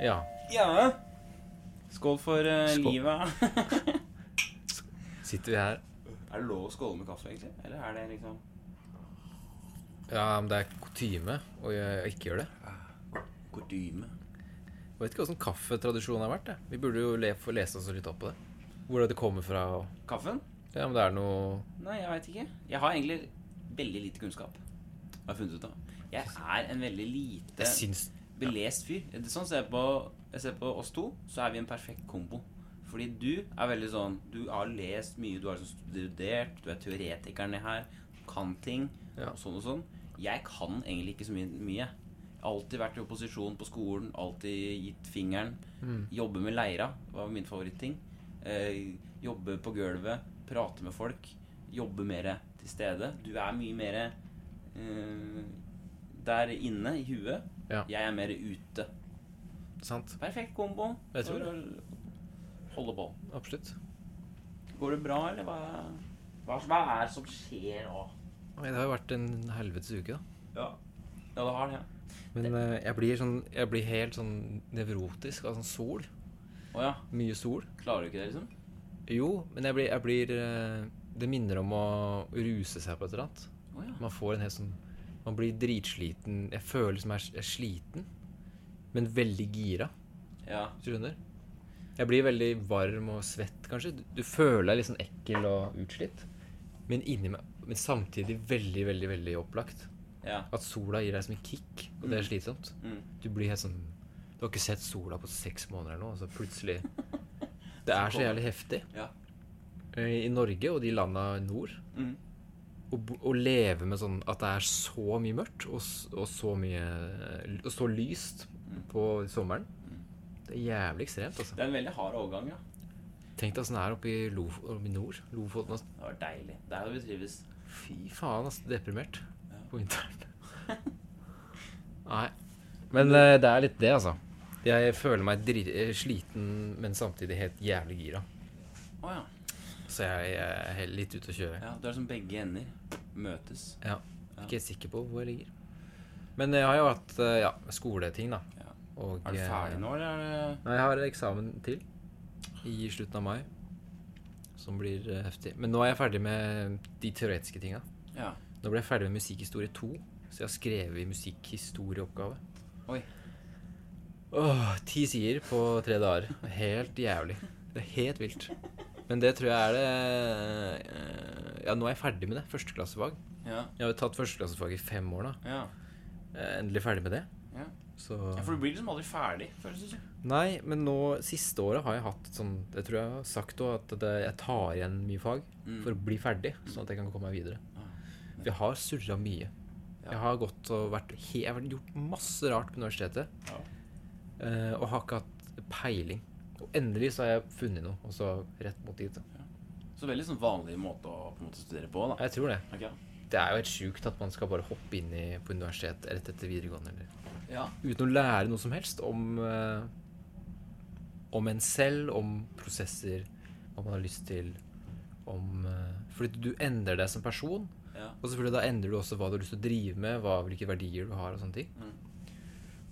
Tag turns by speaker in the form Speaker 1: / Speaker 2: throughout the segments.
Speaker 1: Ja.
Speaker 2: Ja. Skål for eh,
Speaker 1: Skål.
Speaker 2: livet.
Speaker 1: Sitter vi her
Speaker 2: er det lov å skåle med kaffe, egentlig? Eller er det liksom
Speaker 1: Ja, men det er kutyme å gjø- ikke gjøre det.
Speaker 2: Kutyme.
Speaker 1: Jeg vet ikke åssen kaffetradisjonen har vært. Jeg. Vi burde jo le, få lese oss litt opp på det. Hvor er det det kommer fra. Og,
Speaker 2: Kaffen?
Speaker 1: ja, men det er noe
Speaker 2: Nei, jeg veit ikke. Jeg har egentlig veldig lite kunnskap. Har jeg funnet ut av. Jeg er en veldig lite
Speaker 1: Jeg syns
Speaker 2: belest fyr. Det er sånn ser jeg på, jeg ser på oss to, så er vi en perfekt kombo. Fordi du er veldig sånn Du har lest mye, du har liksom studert, du er teoretikeren i her, kan ting,
Speaker 1: Ja.
Speaker 2: og sånn og sånn. Jeg kan egentlig ikke så mye. mye. Jeg har alltid vært i opposisjon på skolen, alltid gitt fingeren.
Speaker 1: Mm.
Speaker 2: Jobbe med leira var min favoritting. Eh, jobbe på gulvet, prate med folk. Jobbe mer til stede. Du er mye mer eh, der inne i huet.
Speaker 1: Ja.
Speaker 2: Jeg er mer ute.
Speaker 1: Sant.
Speaker 2: Perfekt kombo.
Speaker 1: Jeg tror
Speaker 2: for å Holde på.
Speaker 1: Absolutt.
Speaker 2: Går det bra, eller hva, hva, hva er det som skjer nå?
Speaker 1: Nei, Det har jo vært en helvetes uke, da.
Speaker 2: Ja. ja, det har det.
Speaker 1: Men eh, jeg blir sånn Jeg blir helt sånn nevrotisk av sånn sol.
Speaker 2: Å ja.
Speaker 1: Mye sol.
Speaker 2: Klarer du ikke det, liksom?
Speaker 1: Jo, men jeg blir, jeg blir eh, Det minner om å ruse seg på et eller annet.
Speaker 2: Å ja.
Speaker 1: Man får en helt sånn Man blir dritsliten. Jeg føler som jeg er sliten, men veldig gira.
Speaker 2: ja.
Speaker 1: Hvis du skjønner? Jeg blir veldig varm og svett, kanskje. Du, du føler deg litt sånn ekkel og utslitt. Men inni meg Men samtidig veldig, veldig, veldig opplagt.
Speaker 2: Ja.
Speaker 1: At sola gir deg som en kick, og det er slitsomt.
Speaker 2: Mm.
Speaker 1: Du blir helt sånn Du har ikke sett sola på seks måneder nå, og så plutselig Det er så jævlig heftig.
Speaker 2: Ja.
Speaker 1: Eh, I Norge og de landa nord
Speaker 2: Mm.
Speaker 1: å, bo- å leve med sånn at det er så mye mørkt og, s- og så mye eh, Og så lyst på sommeren. Det er jævlig ekstremt, altså.
Speaker 2: Det er en veldig hard overgang, ja.
Speaker 1: Tenk deg åssen det er oppe i, Lof oppe i nord. Lofoten. Altså.
Speaker 2: Det var deilig. Det er jo vi trives.
Speaker 1: Fy faen, altså. Deprimert på vinteren. Nei. Men eh, det er litt det, altså. Jeg føler meg dri eh, sliten, men samtidig helt jævlig gira.
Speaker 2: Å ja.
Speaker 1: Så jeg, jeg er helt litt ute å kjøre.
Speaker 2: ja. Du er som begge ender møtes.
Speaker 1: Ja. Ikke helt sikker på hvor jeg ligger. Men jeg har jo hatt eh, ja, skoleting, da.
Speaker 2: Ja.
Speaker 1: Og,
Speaker 2: Er du
Speaker 1: eh,
Speaker 2: ferdig nå, eller er det
Speaker 1: Nei, jeg har eksamen til i slutten av mai, som blir eh, heftig. Men nå er jeg ferdig med de teoretiske tinga.
Speaker 2: Ja.
Speaker 1: Nå ble jeg ferdig med musikkhistorie 2, så jeg har skrevet i musikkhistorieoppgave.
Speaker 2: Oi.
Speaker 1: Åh, ti sider på tre dager. Helt jævlig. Det er helt vilt. Men det tror jeg er det eh, Ja, nå er jeg ferdig med det. Førsteklassefag.
Speaker 2: Ja.
Speaker 1: Jeg har jo tatt førsteklassefag i fem år, da.
Speaker 2: Ja.
Speaker 1: Jeg er Endelig ferdig med det.
Speaker 2: Ja.
Speaker 1: Så
Speaker 2: ja. For du blir liksom aldri ferdig, føles det som.
Speaker 1: Nei, men nå siste året har jeg hatt sånn Det tror jeg har sagt òg, at det, jeg tar igjen mye fag
Speaker 2: Mm.
Speaker 1: for å bli ferdig, sånn at jeg kan komme meg videre.
Speaker 2: Ah,
Speaker 1: For jeg har surra mye.
Speaker 2: Ja.
Speaker 1: Jeg har gått og vært he- Jeg har gjort masse rart på universitetet.
Speaker 2: Ja.
Speaker 1: eh, Og har ikke hatt peiling. Og endelig så har jeg funnet noe, og så rett mot dit. da.
Speaker 2: Så veldig sånn vanlig måte å på en måte studere på, da.
Speaker 1: Jeg tror det.
Speaker 2: Ok, ja.
Speaker 1: Det er jo helt sjukt at man skal bare hoppe inn i, på universitet rett etter videregående. Eller
Speaker 2: Ja.
Speaker 1: uten å lære noe som helst om eh, om en selv, om prosesser, hva man har lyst til, om eh, Fordi du endrer deg som person,
Speaker 2: Ja.
Speaker 1: og selvfølgelig da endrer du også hva du har lyst til å drive med, hva, hvilke verdier du har og sånne ting.
Speaker 2: Mm.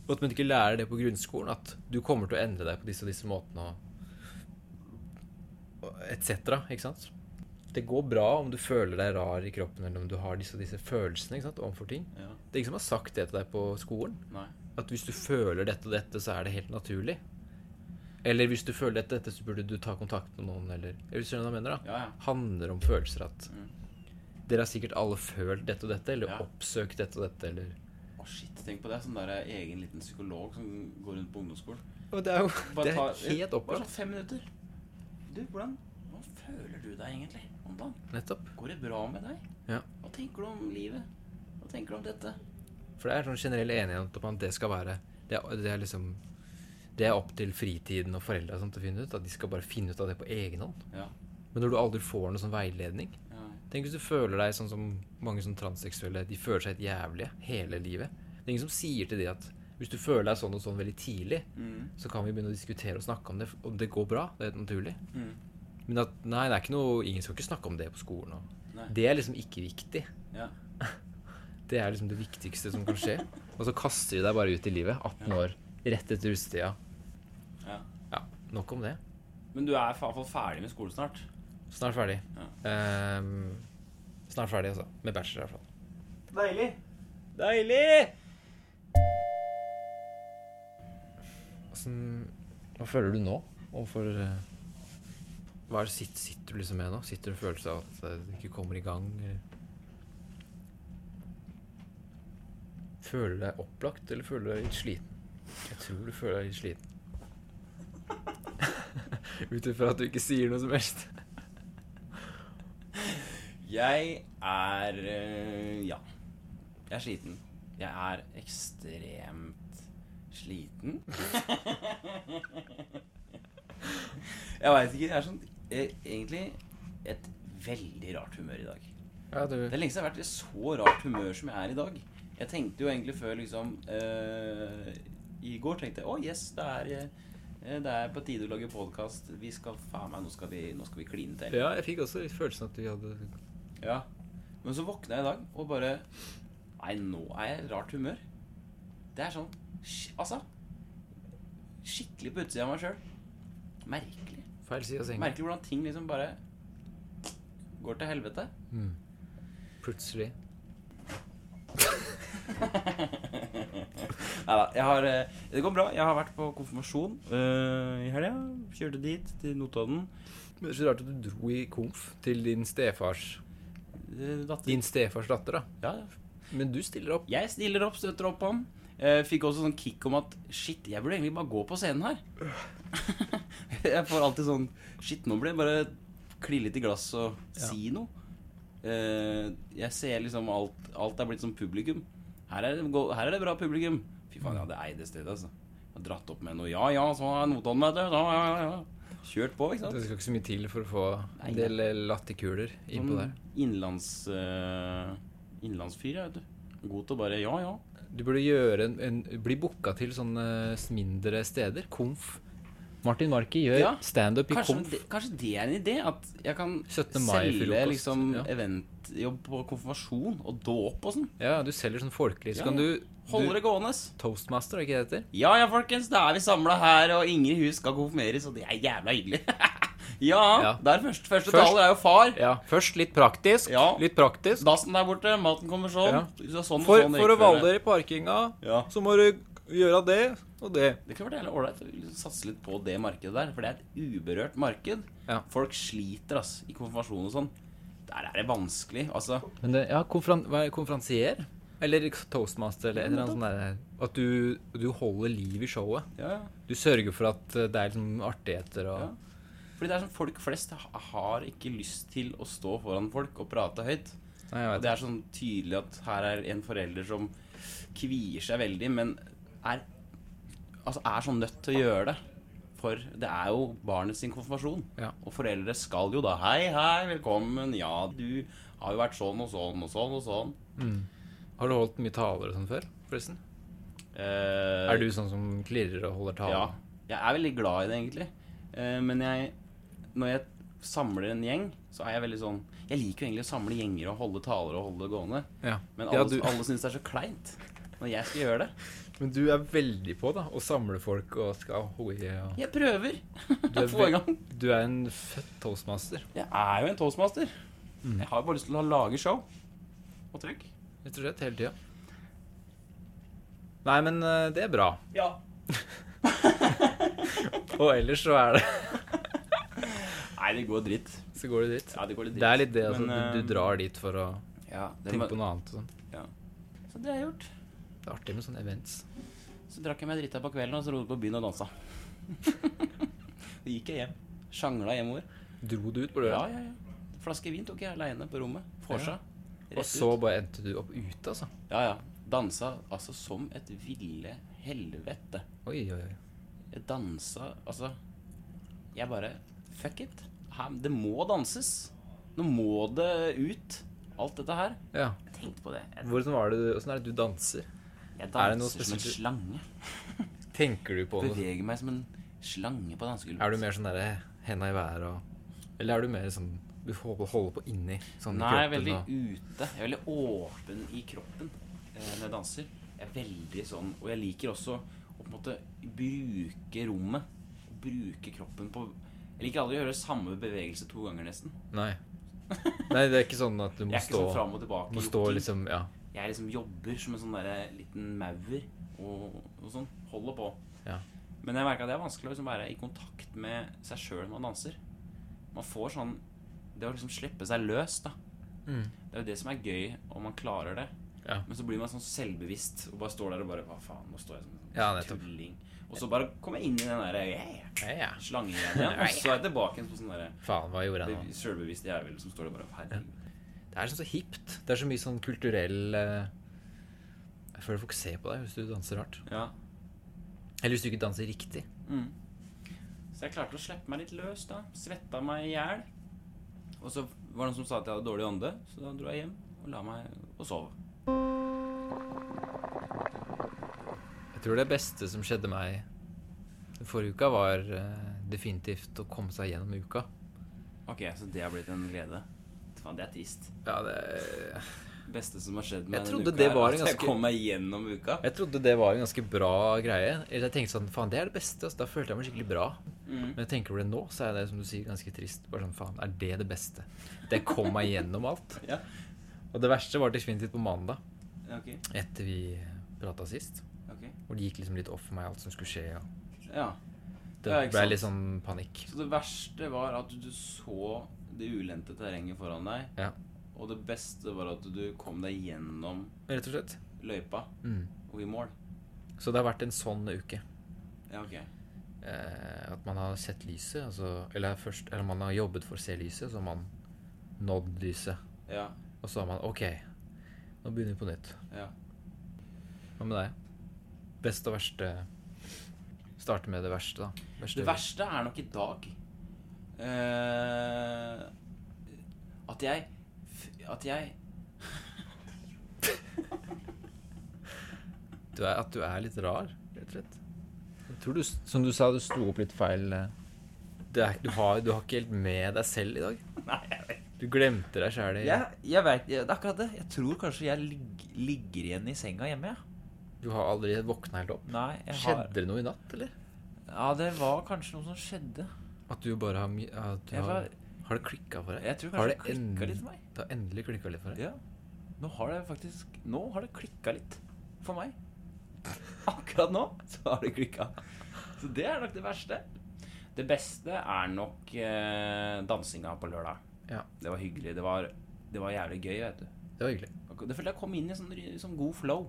Speaker 1: Og at man ikke lærer det på grunnskolen, at du kommer til å endre deg på disse og disse måtene og, og etc. Ikke sant? Det går bra om du føler deg rar i kroppen, eller om du har disse og disse følelsene ikke sant, overfor ting.
Speaker 2: ja.
Speaker 1: Det er ingen som har sagt det til deg på skolen.
Speaker 2: Nei.
Speaker 1: At hvis du føler dette og dette, så er det helt naturlig. Eller hvis du føler dette og dette, så burde du ta kontakt med noen, eller Eller hvis du skjønner hva jeg mener, da.
Speaker 2: Ja, ja.
Speaker 1: Handler om følelser at
Speaker 2: Mm.
Speaker 1: Dere har sikkert alle følt dette og dette, eller
Speaker 2: Ja.
Speaker 1: oppsøkt dette og dette, eller
Speaker 2: Å, shit. Tenk på det. Sånn der egen liten psykolog som går rundt på ungdomsskolen.
Speaker 1: Og det er jo det
Speaker 2: ta-
Speaker 1: er helt altså.
Speaker 2: Bare
Speaker 1: opplagt.
Speaker 2: sånn fem minutter. Du, hvordan, hvordan føler du deg egentlig om dagen?
Speaker 1: Nettopp.
Speaker 2: Går det bra med deg?
Speaker 1: Ja.
Speaker 2: Hva tenker du om livet? Hva tenker du om dette?
Speaker 1: For det er sånn generell enighet om at det skal være Det er, det er liksom Det er opp til fritiden og foreldra og sånt å finne ut. At de skal bare finne ut av det på egen hånd.
Speaker 2: Ja.
Speaker 1: Men når du aldri får noe sånn veiledning
Speaker 2: ja.
Speaker 1: Tenk hvis du føler deg sånn som mange sånn transseksuelle. De føler seg helt jævlige hele livet. Det er ingen som sier til de at hvis du føler deg sånn og sånn veldig tidlig,
Speaker 2: Mm.
Speaker 1: så kan vi begynne å diskutere og snakke om det. Om det går bra, det er helt naturlig.
Speaker 2: Mm.
Speaker 1: Men at nei, det er ikke noe Ingen skal ikke snakke om det på skolen. Og.
Speaker 2: Nei.
Speaker 1: Det er liksom ikke viktig.
Speaker 2: Ja.
Speaker 1: Det er liksom det viktigste som kan skje. Og så kaster de deg bare ut i livet. 18 år, rett etter russetida. Nok om det.
Speaker 2: Men du er i hvert fall ferdig med skolen snart.
Speaker 1: Snart ferdig. Ehm, snart ferdig, altså. Med bachelor, i hvert fall.
Speaker 2: Deilig. Deilig!
Speaker 1: Åssen- hva føler du nå overfor eh, Hva er det sitt, sitter du liksom med nå? Sitter du en følelse av at eh, du ikke kommer i gang? Eller? Føler du deg opplagt, eller føler du deg litt sliten? Jeg tror du føler deg litt sliten. Ut ifra at du ikke sier noe som helst.
Speaker 2: Jeg er eh, Ja. Jeg er sliten. Jeg er ekstremt sliten. jeg veit ikke. Jeg er sånn eh, Egentlig et veldig rart humør i dag.
Speaker 1: Ja, du
Speaker 2: Det er lenge siden jeg har vært i så rart humør som jeg er i dag. Jeg tenkte jo egentlig før liksom eh, I går tenkte jeg å yes, det er, eh, det er på tide å lage podkast. Vi skal faen meg, nå skal vi, nå skal vi kline til.
Speaker 1: Ja, jeg fikk også litt følelsen at vi hadde
Speaker 2: Ja. Men så våkna jeg i dag og bare Nei, nå er jeg i rart humør. Det er sånn sk- Altså Skikkelig på utsida av meg sjøl. Merkelig.
Speaker 1: feil side av senga.
Speaker 2: Merkelig hvordan ting liksom bare går til helvete.
Speaker 1: Mm. Plutselig.
Speaker 2: Neida, jeg har, eh, det går bra. Jeg har vært på konfirmasjon eh, i helga. Kjørte dit, til Notodden.
Speaker 1: Men det er så rart at du dro i konf til din stefars
Speaker 2: Eh, Datter
Speaker 1: Din stefars datter, da.
Speaker 2: Ja, ja.
Speaker 1: Men du stiller opp.
Speaker 2: Jeg stiller opp, støtter opp om. Eh, fikk også sånn kick om at shit, jeg burde egentlig bare gå på scenen her. jeg får alltid sånn Shit, nå burde jeg bare kli litt i glass og si noe. Eh, jeg ser liksom alt Alt er blitt som publikum. Her er, det, gå- her er det bra publikum. Fy faen, jeg hadde eid det stedet, altså. Jeg har dratt opp med noe Ja, ja, så har jeg Notodden, vet du. Ja, ja, ja. Kjørt på, ikke sant.
Speaker 1: Det skal ikke så mye til for å få
Speaker 2: Nei,
Speaker 1: en del eh, latterkuler innpå der.
Speaker 2: Sånn innlands, eh, innlandsfyr, jeg, vet du. God til å bare Ja, ja.
Speaker 1: Du burde gjøre en, en Bli booka til sånne s- mindre steder. Konf. Martin Marki gjør
Speaker 2: Ja.
Speaker 1: standup i
Speaker 2: Kanskje
Speaker 1: konf.
Speaker 2: det, kanskje det er en idé? At jeg kan
Speaker 1: 17. mai
Speaker 2: selge
Speaker 1: frokost,
Speaker 2: liksom
Speaker 1: ja.
Speaker 2: eventjobb på konfirmasjon og dåp og sånn.
Speaker 1: Ja, du selger sånn folkelig. Så
Speaker 2: Ja,
Speaker 1: kan
Speaker 2: ja.
Speaker 1: du,
Speaker 2: Holder
Speaker 1: du
Speaker 2: det gående.
Speaker 1: Toastmaster, er ikke det det heter?
Speaker 2: Ja ja, folkens, da er vi samla her, og Ingrid Hus skal konfirmeres, og det er jævla hyggelig. ja,
Speaker 1: Ja.
Speaker 2: der første, første
Speaker 1: Først-
Speaker 2: taler er jo far.
Speaker 1: Ja. Først litt praktisk.
Speaker 2: Ja.
Speaker 1: Litt praktisk.
Speaker 2: Dassen der borte, maten kommer sånn. Så Sånn,
Speaker 1: For,
Speaker 2: sånn
Speaker 1: for å
Speaker 2: rekkefølge.
Speaker 1: valle i parkinga,
Speaker 2: Ja.
Speaker 1: så må du gjøre det og det.
Speaker 2: Det kunne vært jævlig ålreit å liksom satse litt på det markedet der, for det er et uberørt marked.
Speaker 1: Ja.
Speaker 2: Folk sliter, ass, i konfirmasjon og sånn. Der er det vanskelig, altså.
Speaker 1: Men det, ja, konferan, hva er det, konferansier? Eller toastmaster, eller et eller annet sånt der. At du, du holder liv i showet.
Speaker 2: Ja, ja.
Speaker 1: Du sørger for at eh, det er liksom artigheter og
Speaker 2: Ja. Fordi det er sånn folk flest ha- har ikke lyst til å stå foran folk og prate høyt.
Speaker 1: Nei, jeg
Speaker 2: Og
Speaker 1: vet.
Speaker 2: det er sånn tydelig at her er en forelder som kvier seg veldig, men er, altså er sånn nødt til å gjøre det. For det er jo barnet sin konfirmasjon.
Speaker 1: Ja.
Speaker 2: Og foreldre skal jo da Hei, hei, velkommen. Ja, du har jo vært sånn og sånn og sånn og sånn.
Speaker 1: Har du holdt mye taler og sånn før, forresten?
Speaker 2: Eh,
Speaker 1: Er du sånn som klirrer og holder taler?
Speaker 2: Ja. Jeg er veldig glad i det, egentlig. Eh, men jeg, når jeg samler en gjeng, så er jeg veldig sånn Jeg liker jo egentlig å samle gjenger og holde taler og holde det gående.
Speaker 1: Ja.
Speaker 2: Men alle,
Speaker 1: Ja, du,
Speaker 2: alle syns det er så kleint når jeg skal gjøre det.
Speaker 1: men du er veldig på da, å samle folk og skal hoie og
Speaker 2: Jeg prøver
Speaker 1: Du
Speaker 2: å
Speaker 1: er,
Speaker 2: få i
Speaker 1: ve-
Speaker 2: gang.
Speaker 1: du er en født toastmaster,
Speaker 2: Jeg er jo en toastmaster.
Speaker 1: Mm.
Speaker 2: Jeg har jo bare lyst til å lage show og trykk.
Speaker 1: rett og slett, hele tida. Nei, men eh, det er bra.
Speaker 2: Ja.
Speaker 1: Og ellers så er det
Speaker 2: Nei, det går dritt.
Speaker 1: Så går det dit.
Speaker 2: Ja, det går litt dritt.
Speaker 1: Det er litt det, altså.
Speaker 2: Men,
Speaker 1: du, du
Speaker 2: eh,
Speaker 1: drar dit for å
Speaker 2: Ja, det
Speaker 1: tenke
Speaker 2: må-
Speaker 1: på noe annet og sånn.
Speaker 2: Så det har jeg gjort.
Speaker 1: Det er artig med sånne events.
Speaker 2: Så drakk jeg meg drita på kvelden, og så dro jeg på byen og dansa. Så gikk jeg hjem. Sjangla hjemover.
Speaker 1: Dro du ut på
Speaker 2: Ja,
Speaker 1: døra,
Speaker 2: ja, ja. Flaske vin tok jeg aleine på rommet. Forsa.
Speaker 1: og så bare endte du opp ute, altså?
Speaker 2: Ja, ja. Dansa altså som et ville helvete.
Speaker 1: Oi, oi, oi.
Speaker 2: Jeg dansa Altså, jeg bare Fuck it. Her, det må danses. Nå må det ut. Alt dette her.
Speaker 1: Ja.
Speaker 2: Jeg tenkte på det. Jeg,
Speaker 1: Hvordan var det, du- hvordan er det du danser?
Speaker 2: jeg
Speaker 1: Er det noe
Speaker 2: danser som en
Speaker 1: spesielt-
Speaker 2: slange.
Speaker 1: Tenker du på noe?
Speaker 2: Beveger meg som en slange på dansegulvet.
Speaker 1: Er du mer sånn derre henda i været og Eller er du mer sånn du holder, holder på inni? Sånn i
Speaker 2: Nei, jeg er
Speaker 1: kroppen
Speaker 2: veldig
Speaker 1: og-
Speaker 2: ute. Jeg er veldig åpen i kroppen eh, når jeg danser. Jeg er veldig sånn, Og jeg liker også å på en måte bruke rommet. bruke kroppen på Jeg liker aldri å gjøre samme bevegelse to ganger, nesten.
Speaker 1: Nei. Nei, det er ikke sånn at du
Speaker 2: Jeg
Speaker 1: må
Speaker 2: er ikke sånn
Speaker 1: stå,
Speaker 2: fram og tilbake.
Speaker 1: må
Speaker 2: i
Speaker 1: stå
Speaker 2: jogging.
Speaker 1: liksom Ja.
Speaker 2: Jeg liksom jobber som en sånn der liten maur og, og sånn. Holder på.
Speaker 1: Ja.
Speaker 2: Men jeg merka det er vanskelig å liksom være i kontakt med seg sjøl når man danser. Man får sånn Det å liksom slippe seg løs, da.
Speaker 1: Mm.
Speaker 2: Det er jo det som er gøy, om man klarer det.
Speaker 1: Ja.
Speaker 2: Men så blir man sånn selvbevisst og bare står der og bare Hva faen, nå står jeg som en sånn
Speaker 1: Ja, nettopp.
Speaker 2: tulling. Og så bare kommer jeg inn i den derre yeah,
Speaker 1: Ja, ja.
Speaker 2: slangegreia igjen. Og så er jeg tilbake igjen på sånn derre
Speaker 1: Faen, hva gjorde jeg nå?
Speaker 2: bev- selvbevisst jævel som står der bare Herregud.
Speaker 1: Det er sånn så hipt. Det er så mye sånn kulturell eh, Jeg føler folk ser på deg hvis du danser rart.
Speaker 2: Ja.
Speaker 1: Eller hvis du ikke danser riktig.
Speaker 2: Mm. Så jeg klarte å slippe meg litt løs, da. Svetta meg i hjel. Og så var det noen som sa at jeg hadde dårlig ånde, så da dro jeg hjem og la meg og sov.
Speaker 1: Jeg tror det beste som skjedde meg den forrige uka, var eh, definitivt å komme seg gjennom uka.
Speaker 2: Ok, så det har blitt en glede. Faen, det er trist.
Speaker 1: Ja, det
Speaker 2: Beste som har skjedd
Speaker 1: Jeg
Speaker 2: meg
Speaker 1: trodde det
Speaker 2: er
Speaker 1: var
Speaker 2: at
Speaker 1: en ganske-
Speaker 2: jeg kom meg gjennom uka.
Speaker 1: Jeg trodde det var en ganske bra greie. Eller jeg tenkte sånn, faen, det er det beste. Altså, da følte jeg meg skikkelig bra.
Speaker 2: Mm.
Speaker 1: Men jeg tenker over det nå, så er det som du sier, ganske trist. Bare sånn, faen, er det det beste? Det kom meg gjennom alt.
Speaker 2: Ja.
Speaker 1: Og det verste var definitivt på mandag,
Speaker 2: Ok.
Speaker 1: etter vi prata sist.
Speaker 2: ok.
Speaker 1: Hvor det gikk liksom litt off for meg, alt som skulle skje. Og
Speaker 2: Ja.
Speaker 1: Det
Speaker 2: Ja, ikke
Speaker 1: ble
Speaker 2: sant.
Speaker 1: litt sånn panikk.
Speaker 2: Så det verste var at du så det ulendte terrenget foran deg,
Speaker 1: Ja.
Speaker 2: og det beste var at du kom deg gjennom
Speaker 1: Rett og slett.
Speaker 2: løypa
Speaker 1: Mm.
Speaker 2: og i mål.
Speaker 1: Så det har vært en sånn uke.
Speaker 2: Ja, ok.
Speaker 1: Eh, at man har sett lyset, altså, eller, først, eller man har jobbet for å se lyset, så har man nådd lyset.
Speaker 2: Ja.
Speaker 1: Og så har man OK, nå begynner vi på nytt.
Speaker 2: Ja.
Speaker 1: Hva med deg? Best og verste Starte med det verste, da. Verste-
Speaker 2: Det verste er nok i dag eh, At jeg f- At jeg
Speaker 1: Du er, at du er litt rar, rett og slett. Jeg tror du, som du sa, du sto opp litt feil. eh. Det er, ikke- du, har, du har ikke helt med deg selv i dag.
Speaker 2: Nei, jeg vet
Speaker 1: Du glemte deg sjæl i
Speaker 3: Jeg, jeg vet, det er akkurat det. Jeg tror kanskje jeg ligg, ligger igjen i senga hjemme. Ja.
Speaker 1: Du har aldri våkna helt opp.
Speaker 3: Nei, jeg har,
Speaker 1: Skjedde det noe i natt, eller?
Speaker 3: ja, det var kanskje noe som skjedde.
Speaker 1: At du bare har my- at du
Speaker 3: Jeg,
Speaker 1: har,
Speaker 3: var,
Speaker 1: har det klikka for deg?
Speaker 3: jeg tror
Speaker 1: Har
Speaker 3: kanskje det
Speaker 1: det
Speaker 3: klikka
Speaker 1: en-
Speaker 3: litt for meg.
Speaker 1: Det har endelig klikka litt for deg?
Speaker 3: Ja. Nå har det faktisk Nå har det klikka litt for meg. Akkurat nå så har det klikka.
Speaker 2: Så det er nok det verste. Det beste er nok eh, dansinga på lørdag.
Speaker 1: Ja.
Speaker 2: Det var hyggelig. Det var, det var jævlig gøy, vet du.
Speaker 1: Det var hyggelig.
Speaker 2: Det følte jeg kom inn i sånn, ry- sånn god flow.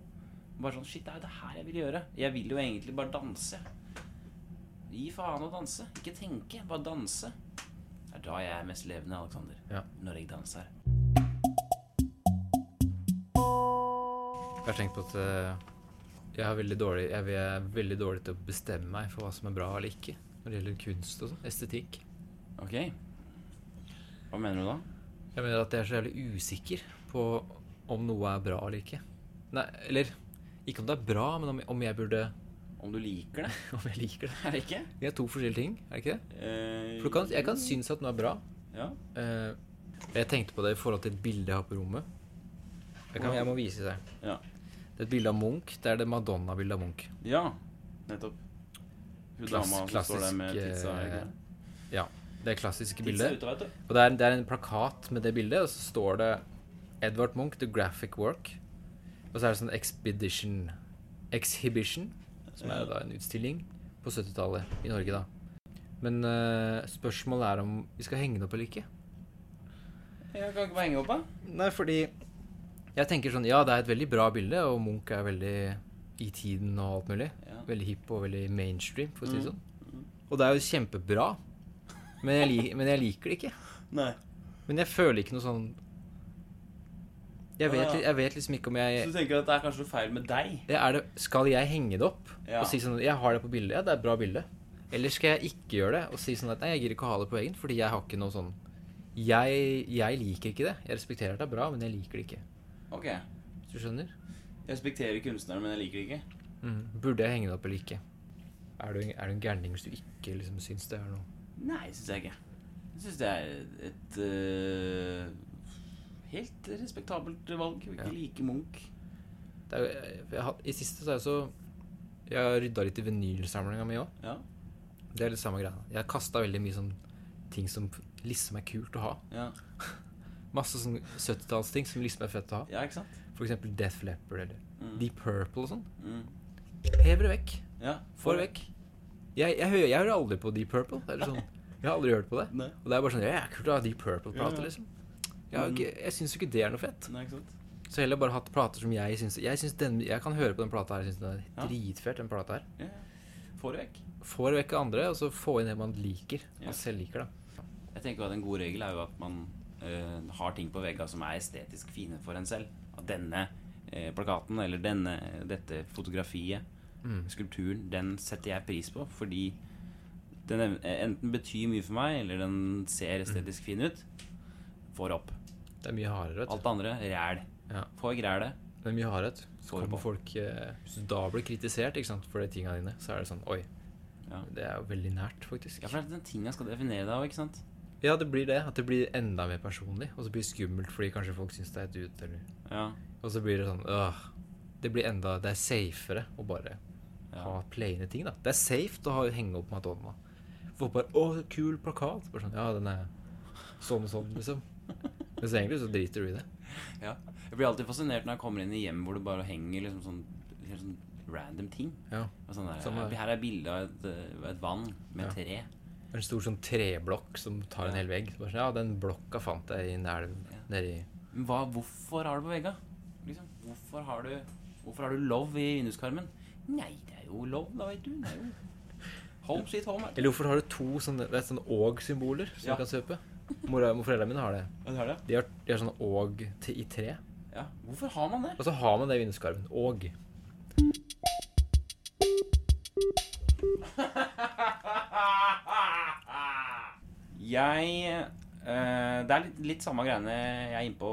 Speaker 2: Bare sånn Shit, det er jo det her jeg vil gjøre. Jeg vil jo egentlig bare danse. Gi faen å danse. Ikke tenke, bare danse. Det er da jeg er mest levende, Alexander.
Speaker 1: Ja.
Speaker 2: Når jeg danser.
Speaker 1: Jeg har tenkt på at eh, jeg er veldig dårlig Jeg vil- jeg er veldig dårlig til å bestemme meg for hva som er bra eller ikke. Når det gjelder kunst og sånn. Estetikk.
Speaker 2: Ok. Hva mener du da?
Speaker 1: Jeg mener at jeg er så jævlig usikker på om noe er bra eller ikke. Nei, eller ikke om det er bra, men om, om jeg burde
Speaker 2: Om du liker det
Speaker 1: Om jeg liker det.
Speaker 2: eller ikke?
Speaker 1: Vi er to forskjellige ting, er det ikke det?
Speaker 2: Eh,
Speaker 1: For du kan, jeg kan synes at noe er bra,
Speaker 2: Ja.
Speaker 1: Eh, jeg tenkte på det i forhold til et bilde jeg har på rommet. Jeg, kan, jeg må vise deg.
Speaker 2: Ja.
Speaker 1: Det er et bilde av Munch. Det er det Madonna-bildet av Munch.
Speaker 2: ja. Nettopp. Hun
Speaker 1: Klass-
Speaker 2: dama som står der med
Speaker 1: klassisk,
Speaker 2: pizza.
Speaker 1: eh,
Speaker 2: ikke sant?
Speaker 1: Det klassiske
Speaker 2: Pizza
Speaker 1: bildet.
Speaker 2: ute, vet du.
Speaker 1: Og det er, det er en plakat med det bildet, og så står det Edvard Munch, The Graphic Work. Og så er det sånn Expedition Exhibition, som er da en utstilling på 70-tallet i Norge, da. Men eh, spørsmålet er om vi skal henge det opp eller ikke.
Speaker 2: Jeg kan ikke bare henge opp, da.
Speaker 1: Nei, fordi jeg tenker sånn Ja, det er et veldig bra bilde, og Munch er veldig i tiden og alt mulig.
Speaker 2: Ja.
Speaker 1: Veldig hipp og veldig mainstream, for å si det
Speaker 2: Mm.
Speaker 1: sånn. Og det er jo kjempebra, men jeg, lik, men jeg liker det ikke.
Speaker 2: Nei.
Speaker 1: Men jeg føler ikke noe sånn Jeg vet,
Speaker 2: Ja, ja.
Speaker 1: li- jeg vet liksom ikke om
Speaker 2: Så
Speaker 1: jeg
Speaker 2: du tenker at det er kanskje noe feil med deg?
Speaker 1: det er det, Skal jeg henge det opp
Speaker 2: Ja.
Speaker 1: og si sånn Jeg har det på bildet, ja, det er et bra bilde. Eller skal jeg ikke gjøre det og si sånn at nei, jeg gidder ikke å ha det på veggen, fordi jeg har ikke noe sånn jeg, jeg liker ikke det. Jeg respekterer at det er bra, men jeg liker det ikke.
Speaker 2: Ok. Jeg
Speaker 1: Hvis du skjønner?
Speaker 2: respekterer kunstneren, men jeg liker det ikke.
Speaker 1: Mm. Burde jeg henge det opp eller ikke? Er du, er du en gærning hvis du ikke liksom syns det er noe
Speaker 2: Nei, syns jeg ikke. Jeg syns det er et øh, helt respektabelt valg å ikke
Speaker 1: Ja.
Speaker 2: like Munch.
Speaker 1: det er, eh, jo- jeg, har- I siste så er jeg så Jeg har rydda litt i vinylsamlinga mi òg.
Speaker 2: Ja.
Speaker 1: Det er litt samme greia. Jeg har kasta veldig mye sånn ting som liksom er kult å ha.
Speaker 2: Ja.
Speaker 1: Masse sånn 70-tallsting som liksom er fett å ha.
Speaker 2: ja, ikke sant?
Speaker 1: For eksempel Death Leppard eller
Speaker 2: Mm.
Speaker 1: Deep Purple og sånn.
Speaker 2: Mm.
Speaker 1: Hever det vekk.
Speaker 2: Ja,
Speaker 1: Får det vekk. Jeg, jeg, hører, jeg hører aldri på Deep Purple. Eller sånn. Jeg har aldri hørt på det.
Speaker 2: Nei.
Speaker 1: Og det er bare sånn Ja, kult å ha Deep Purple-plate,
Speaker 2: Ja, ja.
Speaker 1: liksom. Jeg, har ikke- jeg syns jo ikke det er noe fett.
Speaker 2: Nei, ikke sant?
Speaker 1: Så heller bare hatt plater som jeg syns Jeg, synes den, jeg kan høre på den plata her. Jeg syns den
Speaker 2: Ja.
Speaker 1: er dritfett, den plata her.
Speaker 2: Ja. Får det vekk.
Speaker 1: Får vekk andre, og så få inn det man liker.
Speaker 2: Ja.
Speaker 1: Man selv liker, da.
Speaker 2: Jeg tenker at En god regel er jo at man eh, har ting på veggene som er estetisk fine for en selv. At denne eh, plakaten eller denne, dette fotografiet,
Speaker 1: Mm.
Speaker 2: skulpturen, den setter jeg pris på fordi den ev- enten betyr mye for meg, eller den
Speaker 1: Mm.
Speaker 2: ser estetisk fin ut. Får opp.
Speaker 1: Det er mye hardere, vet
Speaker 2: Alt det andre ræl.
Speaker 1: Ja.
Speaker 2: Får jeg rælet,
Speaker 1: du. Det er mye hardere. vet du. Så
Speaker 2: Får det på.
Speaker 1: kommer folk eh, Hvis du da blir kritisert ikke sant, for de tinga dine, så er det sånn Oi.
Speaker 2: Ja.
Speaker 1: Det er jo veldig nært, faktisk.
Speaker 2: Ja, for det er den tinga skal definere deg òg, ikke sant?
Speaker 1: Ja, det blir det. At det blir enda mer personlig. Og så blir det skummelt fordi kanskje folk syns det er et ut, eller
Speaker 2: Ja.
Speaker 1: Og så blir det sånn øh, Det blir enda Det er safere å bare
Speaker 2: Ja.
Speaker 1: ha plaine ting, da. Det er safe å ha, henge opp Madonna. Folk bare 'Å, kul plakat'. Bare sånn, ja, den er sånn og sånn, liksom. Men så egentlig så driter du i det.
Speaker 2: ja. Jeg blir alltid fascinert når jeg kommer inn i hjem hvor det bare henger liksom sånn, helt sånn random ting.
Speaker 1: Ja.
Speaker 2: Og sånn der,
Speaker 1: Som er-
Speaker 2: her er bilde av et, eh, et vann med
Speaker 1: Ja.
Speaker 2: tre.
Speaker 1: En stor sånn treblokk som tar en
Speaker 2: Ja.
Speaker 1: hel vegg. Så Bare sånn, ja, den blokka fant jeg i en elv
Speaker 2: Ja.
Speaker 1: nedi
Speaker 2: Men hva, hvorfor har du på vegga? Liksom, hvorfor, har du, hvorfor har du love i vinduskarmen? Nei, det er jo love, da, vet du. Det er jo Home sweet home. vet du.
Speaker 1: Eller hvorfor har du to sånne Det er sånne og-symboler som
Speaker 2: Ja.
Speaker 1: du kan kjøpe? Mora og foreldrene mine har det.
Speaker 2: Ja, du har det?
Speaker 1: De har, de har sånn og til, i tre.
Speaker 2: Ja. Hvorfor har man det?
Speaker 1: Og så har man det i vinduskarmen. Og.
Speaker 2: Jeg eh, Det er litt, litt samme greiene jeg er innpå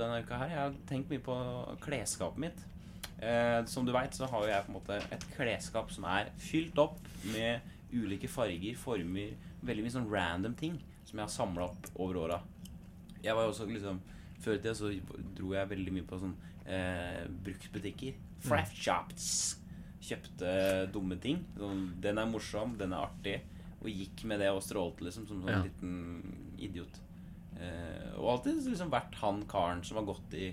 Speaker 2: denne uka her. Jeg har tenkt mye på klesskapet mitt. Eh, som du veit, så har jo jeg på en måte et klesskap som er fylt opp med ulike farger, former, veldig mye sånn random ting som jeg har samla opp over åra. Jeg var jo også liksom Før i tida så dro jeg veldig mye på sånn eh, bruktbutikker. Fraft shops. Kjøpte dumme ting. Sånn, den er morsom, den er artig. Og gikk med det og strålte liksom som sånn
Speaker 1: Ja.
Speaker 2: liten idiot. Eh, og alltid liksom vært han karen som har gått i,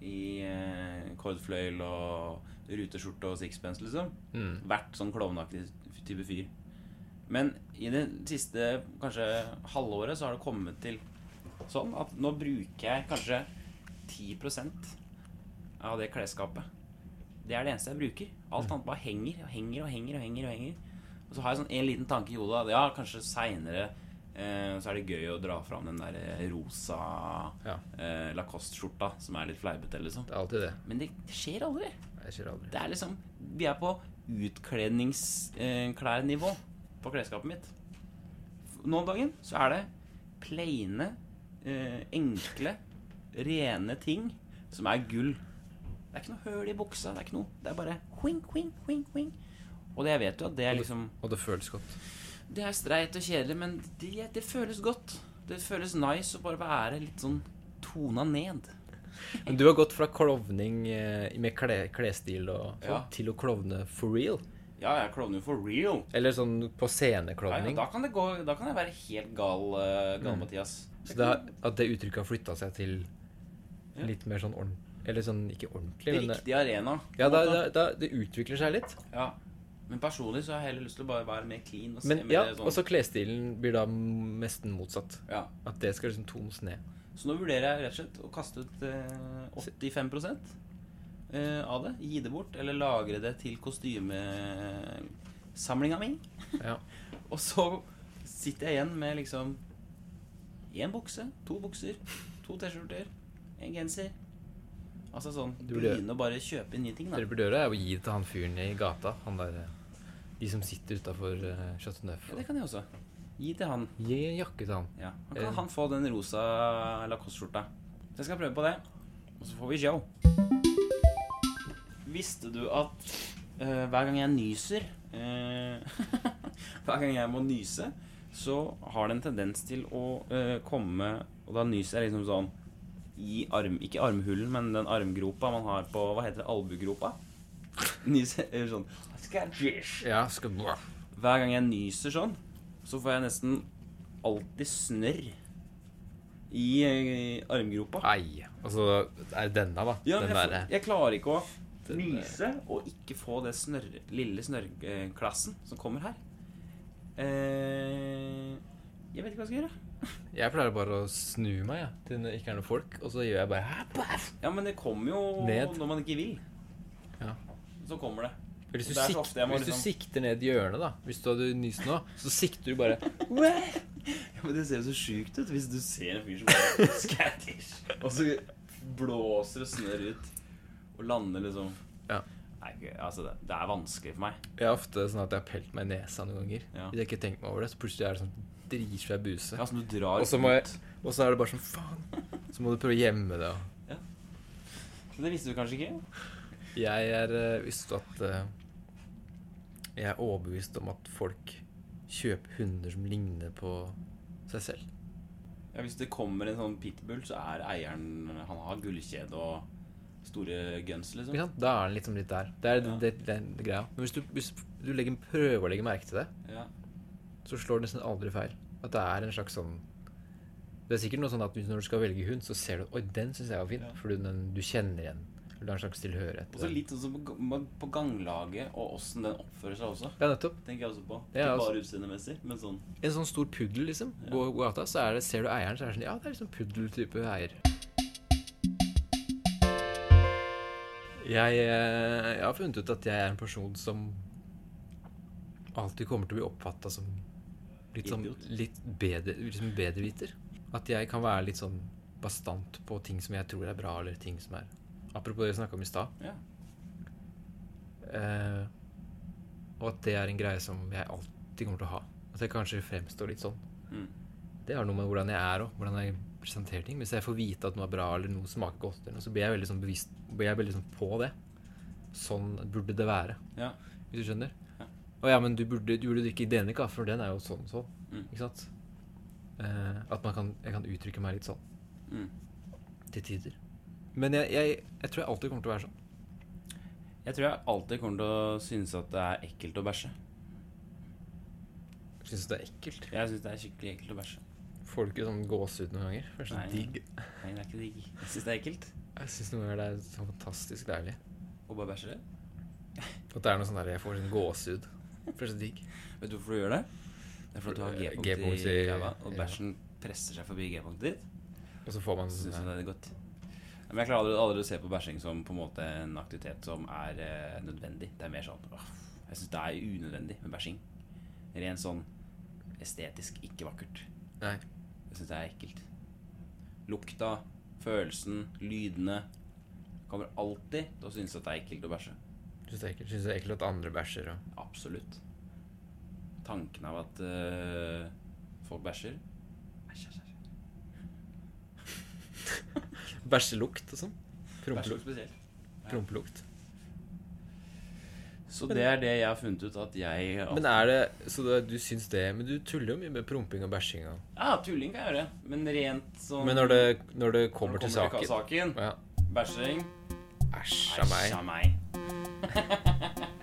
Speaker 2: i eh, kordfløyel og ruteskjorte og sixpence, liksom.
Speaker 1: Mm.
Speaker 2: Vært sånn klovnaktig type fyr. Men i det siste kanskje halvåret så har det kommet til sånn at nå bruker jeg kanskje 10 av det klesskapet. Det er det eneste jeg bruker. Alt annet bare henger og henger og henger. Og henger og henger Og så har jeg sånn en liten tanke i hodet at ja, kanskje seinere eh, så er det gøy å dra fram den der eh, rosa
Speaker 1: Ja.
Speaker 2: eh, Lacoste-skjorta som er litt fleipete, liksom.
Speaker 1: Det er alltid det.
Speaker 2: Men det skjer aldri.
Speaker 1: Jeg skjer aldri.
Speaker 2: Det er liksom Vi er på utkledningsklærnivå på klesskapet mitt. Nå om dagen så er det plaine, eh, enkle, rene ting som er gull. Det er ikke noe høl i buksa. Det er ikke noe Det er bare huing, huing, huing, huing. Og det jeg vet jo at det er liksom
Speaker 1: Og det føles godt.
Speaker 2: Det er streit og kjedelig, men det, det føles godt. Det føles nice å bare være litt sånn tona ned.
Speaker 1: Men du har gått fra klovning eh, med kle, klesstil og sånn,
Speaker 2: Ja.
Speaker 1: til å klovne for real.
Speaker 2: Ja, jeg klovner jo for real.
Speaker 1: Eller sånn på
Speaker 2: Ja, ja,
Speaker 1: sceneklovning.
Speaker 2: da, kan det gå, da kan jeg være helt gal, eh, gal Mathias.
Speaker 1: Mm. Så det, har- at det uttrykket har flytta seg til
Speaker 2: Ja.
Speaker 1: litt mer sånn ordentlig Eller sånn ikke ordentlig, men det,
Speaker 2: Riktig arena. på
Speaker 1: ja,
Speaker 2: en
Speaker 1: da,
Speaker 2: måte.
Speaker 1: da, da, det utvikler seg litt.
Speaker 2: ja. Men personlig så har jeg heller lyst til å bare være mer clean. Og se
Speaker 1: Men
Speaker 2: mer
Speaker 1: ja,
Speaker 2: sånn.
Speaker 1: og så klesstilen blir da nesten motsatt.
Speaker 2: ja.
Speaker 1: At det skal liksom tones ned.
Speaker 2: Så nå vurderer jeg rett og slett å kaste ut eh, 85 eh, av det. Gi det bort, eller lagre det til kostymesamlinga mi.
Speaker 1: Ja.
Speaker 2: Og så sitter jeg igjen med liksom én bukse, to bukser, to T-skjorter, en genser. Altså sånn
Speaker 1: Du burde-
Speaker 2: Begynne å bare kjøpe inn nye ting, da.
Speaker 1: Dere burde gjøre er å gi det til han fyren i gata. Han der eh, De som sitter utafor Chateau Neuf.
Speaker 2: Ja, det kan jeg også. Gi til han.
Speaker 1: Gi en jakke til han.
Speaker 2: Ja, han
Speaker 1: Eh.
Speaker 2: kan han få den rosa lacoste-skjorta. Så jeg skal prøve på det. Og så får vi show. Visste du at eh, hver gang jeg nyser eh, Hver gang jeg må nyse, så har det en tendens til å eh, komme Og da nyser jeg liksom sånn i arm... Ikke armhulen, men den armgropa man har på Hva heter det? Albugropa? Nyser eller sånn
Speaker 1: Ja, skal
Speaker 2: Hver gang jeg nyser sånn, så får jeg nesten alltid snørr i eh, armgropa.
Speaker 1: Nei. Altså, det er denne, da.
Speaker 2: Ja,
Speaker 1: den
Speaker 2: men jeg,
Speaker 1: derre
Speaker 2: får- jeg klarer ikke å
Speaker 1: Den
Speaker 2: nyse og ikke få det snørr, lille snørrklassen som kommer her. Eh, jeg vet ikke hva jeg skal gjøre.
Speaker 1: Jeg pleier bare å snu meg jeg, til det ikke er noen folk, og så gjør jeg bare hæ, bæff.
Speaker 2: Ja, men det kommer jo
Speaker 1: Ned.
Speaker 2: når man ikke vil.
Speaker 1: Ja.
Speaker 2: Så kommer det.
Speaker 1: Hvis, du,
Speaker 2: Det er så
Speaker 1: sik
Speaker 2: ofte jeg må
Speaker 1: hvis du
Speaker 2: liksom-
Speaker 1: sikter ned i hjørnet, da Hvis du hadde nyst nå, så sikter du bare
Speaker 2: Ja, men Det ser jo så sjukt ut hvis du ser en fyr som bare skætish, og så blåser det snørr ut og lander liksom
Speaker 1: Ja.
Speaker 2: Nei, gøy, altså det, det er vanskelig for meg.
Speaker 1: Jeg er ofte sånn at jeg har pelt meg i nesa noen ganger.
Speaker 2: Ja.
Speaker 1: Hvis jeg ikke tenker meg over det, så plutselig er det sånn dritsvær buse.
Speaker 2: Ja, som sånn du drar
Speaker 1: Og så må jeg-
Speaker 2: ut.
Speaker 1: Og så er det bare sånn faen. Så må du prøve å gjemme det. og-
Speaker 2: Men Det visste du kanskje ikke?
Speaker 1: Jeg er eh, visste du at eh, Jeg er overbevist om at folk kjøper hunder som ligner på seg selv.
Speaker 2: Ja, Hvis det kommer en sånn pitbull, så er eieren Han har gullkjede og store guns,
Speaker 1: Ikke
Speaker 2: liksom.
Speaker 1: sant? Da er den liksom litt der. Det er
Speaker 2: Ja.
Speaker 1: det, det, det, greia. Men hvis du, hvis du legger, prøver å legge merke til det,
Speaker 2: Ja.
Speaker 1: så slår det nesten aldri feil. At det er en slags sånn Det er sikkert noe sånn at når du skal velge hund, så ser du Oi, den syns jeg var fin.
Speaker 2: Ja.
Speaker 1: Fordi den, du kjenner igjen. Du har en slags tilhørighet.
Speaker 2: Og
Speaker 1: til
Speaker 2: så
Speaker 1: den.
Speaker 2: litt sånn som på, på ganglaget og åssen den oppfører seg også.
Speaker 1: Ja, altså- nettopp.
Speaker 2: Tenker jeg også på.
Speaker 1: Det er
Speaker 2: Ikke
Speaker 1: også-
Speaker 2: bare utseendemessig, men sånn
Speaker 1: En sånn stor puddel, liksom.
Speaker 2: Ja.
Speaker 1: Går går gata, så er det, ser du eieren, så er det sånn Ja, det er liksom puddeltype eier. Jeg, eh, jeg har funnet ut at jeg er en person som alltid kommer til å bli oppfatta som litt sånn
Speaker 2: Idiot.
Speaker 1: litt bedre, liksom bedreviter. At jeg kan være litt sånn bastant på ting som jeg tror er bra, eller ting som er Apropos det vi snakka om i stad.
Speaker 2: Ja.
Speaker 1: Eh, og at det er en greie som jeg alltid kommer til å ha. At jeg kanskje fremstår litt sånn.
Speaker 2: Mm.
Speaker 1: Det har noe med hvordan jeg er og hvordan jeg presenterer ting. Hvis jeg får vite at noe er bra eller noe smaker godt, eller noe, så blir jeg veldig sånn bevisst blir jeg veldig sånn på det. Sånn burde det være.
Speaker 2: Ja.
Speaker 1: Hvis du skjønner?
Speaker 2: Ja.
Speaker 1: Å ja, men du burde, du burde drikke denne kaffen, for den er jo sånn og sånn.
Speaker 2: Mm.
Speaker 1: Ikke sant? Eh, at man kan, jeg kan uttrykke meg litt sånn
Speaker 2: Mm.
Speaker 1: til tider. Men jeg, jeg, jeg tror jeg alltid kommer til å være sånn.
Speaker 2: Jeg tror jeg alltid kommer til å synes at det er ekkelt å bæsje.
Speaker 1: Jeg Syns det er ekkelt.
Speaker 2: Jeg syns det er skikkelig ekkelt å bæsje.
Speaker 1: Får du ikke sånn gåsehud noen ganger? Det er så
Speaker 2: Nei.
Speaker 1: digg.
Speaker 2: Nei, det er ikke digg. Jeg syns det er ekkelt
Speaker 1: Jeg syns noen ganger det er så fantastisk deilig.
Speaker 2: å bare bæsje.
Speaker 1: At det er noe sånn der jeg får sånn gåsehud. For det er så digg.
Speaker 2: Vet du hvorfor du gjør det? Det er fordi du har
Speaker 1: Eh,
Speaker 2: G-punkt i
Speaker 1: G-punkt i-
Speaker 2: ræva, og
Speaker 1: ja.
Speaker 2: bæsjen presser seg forbi G-punktet ditt.
Speaker 1: Og så får man
Speaker 2: Så synes
Speaker 1: sånn
Speaker 2: jeg det er godt. Nei, Men jeg klarer aldri, aldri å se på bæsjing som på en måte en aktivitet som er eh, nødvendig. Det er mer sånn åh, Jeg syns det er unødvendig med bæsjing. Rent sånn estetisk ikke vakkert.
Speaker 1: Nei.
Speaker 2: Jeg syns det er ekkelt. Lukta, følelsen, lydene kommer alltid til å synes at det er ekkelt å bæsje.
Speaker 1: Syns det er ekkelt. Syns det er ekkelt at andre bæsjer og
Speaker 2: Absolutt. Tanken av at eh, folk bæsjer Æsj, æsj, æsj.
Speaker 1: Bæsjelukt og sånn.
Speaker 2: Bæsj er
Speaker 1: Prompelukt.
Speaker 2: spesielt.
Speaker 1: Prompelukt.
Speaker 2: Så det er det jeg har funnet ut at jeg
Speaker 1: Men er det Så det, du syns det Men du tuller jo mye med promping og bæsjing og
Speaker 2: Ja, tulling kan jeg gjøre, men rent sånn
Speaker 1: Men når det, når det kommer
Speaker 2: når det
Speaker 1: til saken
Speaker 2: saken
Speaker 1: Ja.
Speaker 2: Bæsjing
Speaker 1: Æsj av meg.
Speaker 2: av meg.